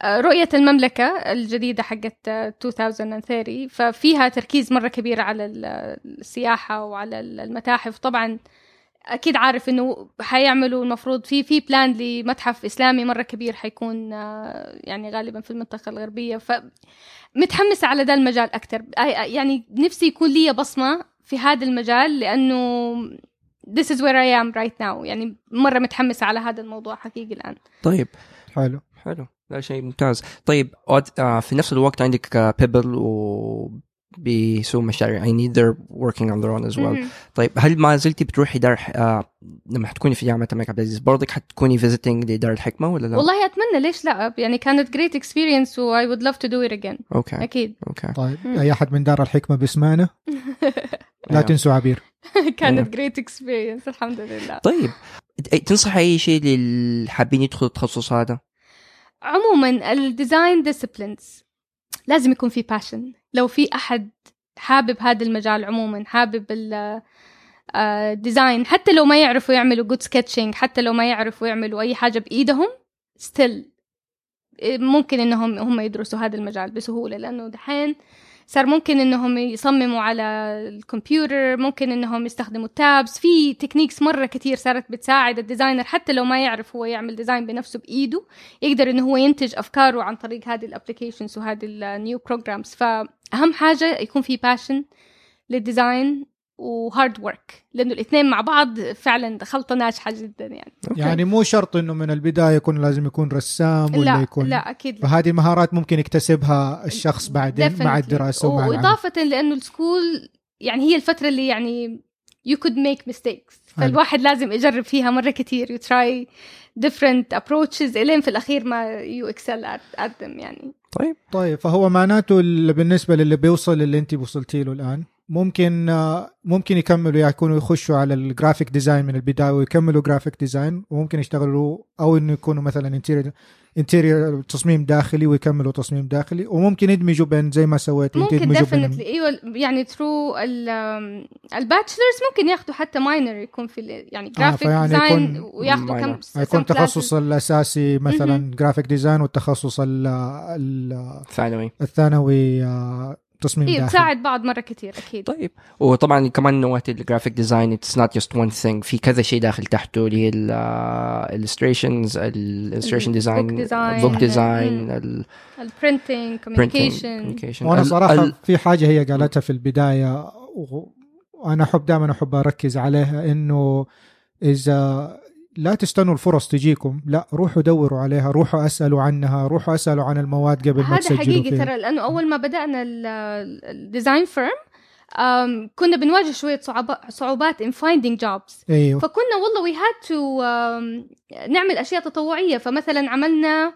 [SPEAKER 3] آه، رؤية المملكة الجديدة حقت آه، 2030 ففيها تركيز مرة كبير على ال- السياحة وعلى ال- المتاحف طبعا اكيد عارف انه حيعملوا المفروض في في بلان لمتحف اسلامي مره كبير حيكون آه، يعني غالبا في المنطقه الغربيه فمتحمسه على ده المجال اكثر يعني نفسي يكون لي بصمه في هذا المجال لانه this is where I am right now يعني مره متحمسه على هذا الموضوع حقيقي الان
[SPEAKER 2] طيب
[SPEAKER 1] حلو
[SPEAKER 2] حلو لا شيء ممتاز طيب وات- آه، في نفس الوقت عندك آه، بيبل و بيسووا مشاريع يعني they're working on their own as well
[SPEAKER 3] مهم.
[SPEAKER 2] طيب هل ما زلتي بتروحي دار ح- آه لما حتكوني في جامعه الملك عبد العزيز برضك حتكوني visiting لدار الحكمه ولا لا؟
[SPEAKER 3] والله اتمنى ليش لا يعني كانت great experience و I would love to do it again
[SPEAKER 2] اوكي
[SPEAKER 3] اكيد
[SPEAKER 2] اوكي
[SPEAKER 1] طيب
[SPEAKER 3] مم.
[SPEAKER 1] اي احد من دار الحكمه بيسمعنا لا
[SPEAKER 2] أيوه.
[SPEAKER 1] تنسوا عبير
[SPEAKER 3] كانت great experience الحمد لله
[SPEAKER 2] طيب أي- تنصح اي شيء للحابين يدخلوا التخصص هذا؟
[SPEAKER 3] عموما الديزاين ديسبلينز لازم يكون في باشن لو في احد حابب هذا المجال عموما حابب الديزاين حتى لو ما يعرفوا يعملوا جود سكتشنج حتى لو ما يعرفوا يعملوا اي حاجه بايدهم ستيل آه، ممكن انهم هم يدرسوا هذا المجال بسهوله لانه دحين صار ممكن انهم يصمموا على الكمبيوتر ممكن انهم يستخدموا التابس في تكنيكس مره كتير صارت بتساعد الديزاينر حتى لو ما يعرف هو يعمل ديزاين بنفسه بايده يقدر انه هو ينتج افكاره عن طريق هذه الابلكيشنز وهذه النيو بروجرامز فاهم حاجه يكون في باشن للديزاين وهارد ورك لانه الاثنين مع بعض فعلا خلطه ناجحه جدا يعني
[SPEAKER 2] أوكي.
[SPEAKER 1] يعني مو شرط انه من البدايه يكون لازم يكون رسام ولا
[SPEAKER 3] لا
[SPEAKER 1] يكون
[SPEAKER 3] لا اكيد لا.
[SPEAKER 1] فهذه المهارات ممكن يكتسبها الشخص بعدين مع
[SPEAKER 3] Definitely.
[SPEAKER 1] الدراسه ومع العمل
[SPEAKER 3] واضافه لانه السكول يعني هي الفتره اللي يعني you could make mistakes فالواحد لازم يجرب فيها مره كثير you try different approaches الين في الاخير ما you excel at, at them يعني
[SPEAKER 2] طيب
[SPEAKER 1] طيب فهو معناته ال- بالنسبه للي بيوصل اللي انت وصلتي له الان ممكن آه، ممكن يكملوا يكونوا يخشوا على الجرافيك ديزاين من البدايه ويكملوا جرافيك ديزاين وممكن يشتغلوا او انه يكونوا مثلا انتيريور انتيريور تصميم داخلي ويكملوا تصميم داخلي وممكن يدمجوا بين زي ما سويت انت
[SPEAKER 3] ممكن
[SPEAKER 1] يدمجوا بين
[SPEAKER 3] ديفنتلي ايوه يعني ثرو الباتشلرز ممكن ياخذوا حتى ماينر يكون في ال- يعني جرافيك
[SPEAKER 1] آه، فيعني
[SPEAKER 3] ديزاين
[SPEAKER 1] يكون
[SPEAKER 3] وياخذوا كم
[SPEAKER 2] minor.
[SPEAKER 1] هيكون
[SPEAKER 3] some classes.
[SPEAKER 1] التخصص الاساسي مثلا جرافيك ديزاين والتخصص ال- ال-
[SPEAKER 2] ثانوي
[SPEAKER 1] الثانوي آه، تصميم
[SPEAKER 3] ايوه
[SPEAKER 1] داخلي
[SPEAKER 3] تساعد بعض مره كثير اكيد
[SPEAKER 2] طيب وطبعا كمان نوعات الجرافيك ديزاين اتس نوت جاست وان ثينج في كذا شيء داخل تحته اللي هي آه، الالستريشنز الالستريشن
[SPEAKER 3] ال-
[SPEAKER 2] ديزاين
[SPEAKER 3] book design.
[SPEAKER 2] بوك ديزاين
[SPEAKER 3] مم.
[SPEAKER 2] البرنتنج
[SPEAKER 3] البرنتنج كوميونيكيشن
[SPEAKER 1] وانا صراحه في حاجه هي قالتها في البدايه وانا احب دائما احب اركز عليها انه اذا لا تستنوا الفرص تجيكم لا روحوا دوروا عليها روحوا اسالوا عنها روحوا اسالوا عن المواد قبل ما
[SPEAKER 3] هذا
[SPEAKER 1] تسجلوا
[SPEAKER 3] حقيقي
[SPEAKER 1] فيها.
[SPEAKER 3] ترى لانه اول ما بدانا ال- ال- الديزاين فيرم أم، كنا بنواجه شويه صعوبات صعوبات ان فايندينج جوبز
[SPEAKER 1] ايوه
[SPEAKER 3] فكنا والله وي هاد تو um, نعمل اشياء تطوعيه فمثلا عملنا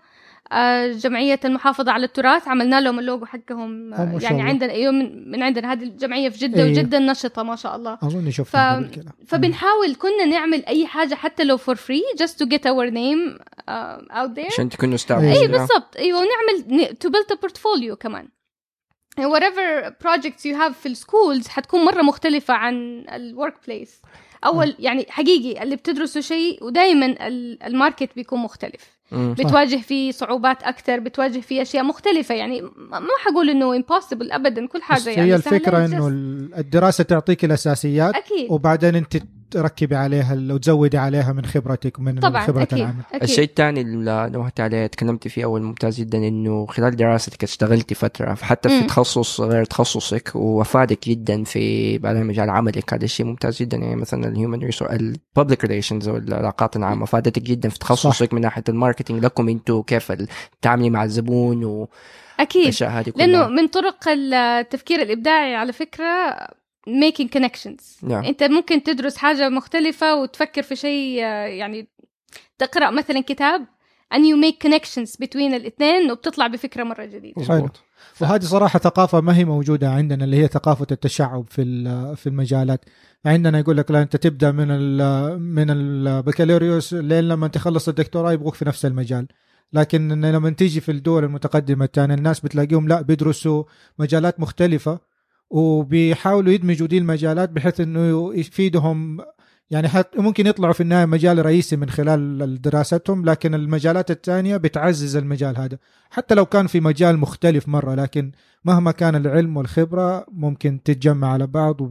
[SPEAKER 3] آه، جمعية المحافظة على التراث عملنا لهم اللوجو حقهم
[SPEAKER 1] آه، ما
[SPEAKER 3] آه،
[SPEAKER 1] شاء
[SPEAKER 3] يعني
[SPEAKER 1] الله.
[SPEAKER 3] عندنا ايوه من, من عندنا هذه الجمعية في جدة
[SPEAKER 1] إيه.
[SPEAKER 3] وجدا نشطة ما شاء الله
[SPEAKER 1] اظن شفت
[SPEAKER 3] ف- فبنحاول كنا نعمل اي حاجة حتى لو فور فري just to get our name uh, out there
[SPEAKER 2] عشان تكونوا استعملوا
[SPEAKER 1] إيه،
[SPEAKER 3] اي بالضبط ايوه ونعمل تو بيلد بورتفوليو كمان whatever projects you have في السكولز حتكون مره مختلفه عن الورك بليس اول يعني حقيقي اللي بتدرسوا شيء ودائما الماركت بيكون مختلف
[SPEAKER 1] صح.
[SPEAKER 3] بتواجه فيه صعوبات اكثر بتواجه فيه اشياء مختلفه يعني ما ما حقول انه impossible ابدا كل حاجه
[SPEAKER 1] بس
[SPEAKER 3] يعني
[SPEAKER 1] هي
[SPEAKER 3] سهلة،
[SPEAKER 1] الفكره
[SPEAKER 3] just-
[SPEAKER 1] انه ال- الدراسه تعطيك الاساسيات
[SPEAKER 3] اكيد
[SPEAKER 1] وبعدين انت تركبي عليها ال- وتزودي عليها من خبرتك من
[SPEAKER 3] طبعا
[SPEAKER 1] خبره
[SPEAKER 3] اكيد
[SPEAKER 1] العمل
[SPEAKER 3] اكيد
[SPEAKER 2] الشيء الثاني اللي نوهت عليه تكلمتي فيه اول ممتاز جدا انه خلال دراستك اشتغلتي فتره حتى في
[SPEAKER 3] مم.
[SPEAKER 2] تخصص غير تخصصك وافادك جدا في بعدين مجال عملك هذا الشيء ممتاز جدا يعني مثلا الهيومن ريسورس الببليك ريليشنز او العلاقات العامه فادتك جدا في تخصصك من ناحيه الماركتينج لكم انتم كيف ال- تتعاملي مع الزبون
[SPEAKER 3] اكيد
[SPEAKER 2] والاشياء هذه كلها
[SPEAKER 3] لانه من طرق التفكير الابداعي على فكره making connections
[SPEAKER 2] نعم.
[SPEAKER 3] انت ممكن تدرس حاجه مختلفه وتفكر في شيء آه، يعني تقرا مثلا كتاب and you make connections between الاثنين وبتطلع بفكره مره جديده
[SPEAKER 2] مزبوط.
[SPEAKER 1] وهذه صراحه ثقافه ما هي موجوده عندنا اللي هي ثقافه التشعب في ال- في المجالات عندنا يقول لك لا انت تبدا من ال من البكالوريوس لين لما تخلص الدكتوراه يبغوك في نفس المجال لكن إن لما تيجي في الدول المتقدمه الثانيه الناس بتلاقيهم لا بيدرسوا مجالات مختلفه وبيحاولوا يدمجوا دي المجالات بحيث انه يفيدهم يعني حت ممكن يطلعوا في النهايه مجال رئيسي من خلال دراستهم لكن المجالات الثانيه بتعزز المجال هذا حتى لو كان في مجال مختلف مره لكن مهما كان العلم والخبره ممكن تتجمع على بعض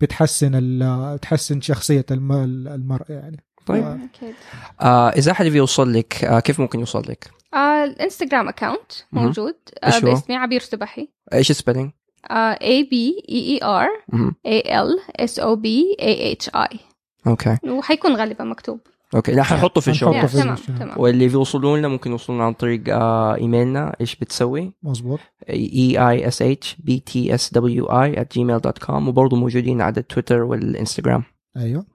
[SPEAKER 1] وبتحسن تحسن شخصيه الم- المرء يعني
[SPEAKER 2] طيب
[SPEAKER 1] آه.
[SPEAKER 3] اكيد
[SPEAKER 2] آه اذا احد يبي يوصل لك آه كيف ممكن يوصل لك؟
[SPEAKER 3] آه الانستغرام اكاونت
[SPEAKER 2] مهم.
[SPEAKER 3] موجود آه
[SPEAKER 2] إيش هو؟
[SPEAKER 3] باسمي عبير سبحي
[SPEAKER 2] ايش السبيلينج؟
[SPEAKER 3] آه A B E E R
[SPEAKER 2] مهم.
[SPEAKER 3] A L S O B A H I
[SPEAKER 2] اوكي
[SPEAKER 3] وحيكون غالبا مكتوب
[SPEAKER 2] اوكي لا حنحطه في الشو
[SPEAKER 1] حنحطه
[SPEAKER 3] يا،
[SPEAKER 1] في
[SPEAKER 3] تمام
[SPEAKER 1] الشو.
[SPEAKER 3] تمام
[SPEAKER 2] واللي بيوصلوا لنا ممكن يوصلون عن طريق آه ايميلنا ايش بتسوي؟
[SPEAKER 1] مزبوط
[SPEAKER 2] e i s h b t s w i at gmail.com وبرضه موجودين على تويتر والانستغرام
[SPEAKER 1] ايوه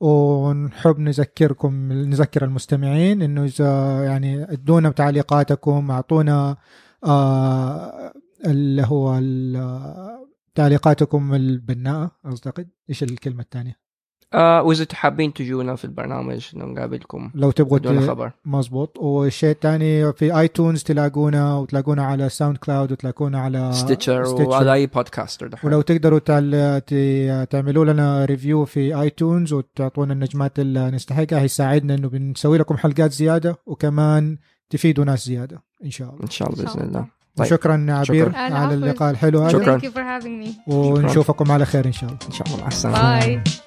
[SPEAKER 1] ونحب نذكركم نذكر المستمعين انه اذا يعني ادونا تعليقاتكم اعطونا آه اللي هو ال- تعليقاتكم البناءه اعتقد ايش الكلمه الثانيه
[SPEAKER 2] آه واذا حابين تجونا في البرنامج نقابلكم
[SPEAKER 1] لو تبغوا
[SPEAKER 2] بدون
[SPEAKER 1] ت-
[SPEAKER 2] خبر
[SPEAKER 1] مزبوط والشيء الثاني في ايتونز تلاقونا وتلاقونا على ساوند كلاود وتلاقونا على
[SPEAKER 2] ستيتشر
[SPEAKER 1] ستيتشر.
[SPEAKER 2] وعلى اي بودكاستر دحين.
[SPEAKER 1] ولو تقدروا تعل... ت- تعملوا لنا ريفيو في ايتونز وتعطونا النجمات اللي نستحقها هيساعدنا انه بنسوي لكم حلقات زياده وكمان تفيدوا ناس زياده ان شاء الله
[SPEAKER 2] ان شاء الله باذن الله طيب.
[SPEAKER 1] طيب. شكرا عبير
[SPEAKER 2] شكراً.
[SPEAKER 1] على
[SPEAKER 3] العفو.
[SPEAKER 1] اللقاء الحلو هذا
[SPEAKER 2] شكراً.
[SPEAKER 3] Thank you for having me
[SPEAKER 1] ونشوفكم على خير ان شاء الله
[SPEAKER 2] آه. ان شاء الله مع السلامه
[SPEAKER 3] باي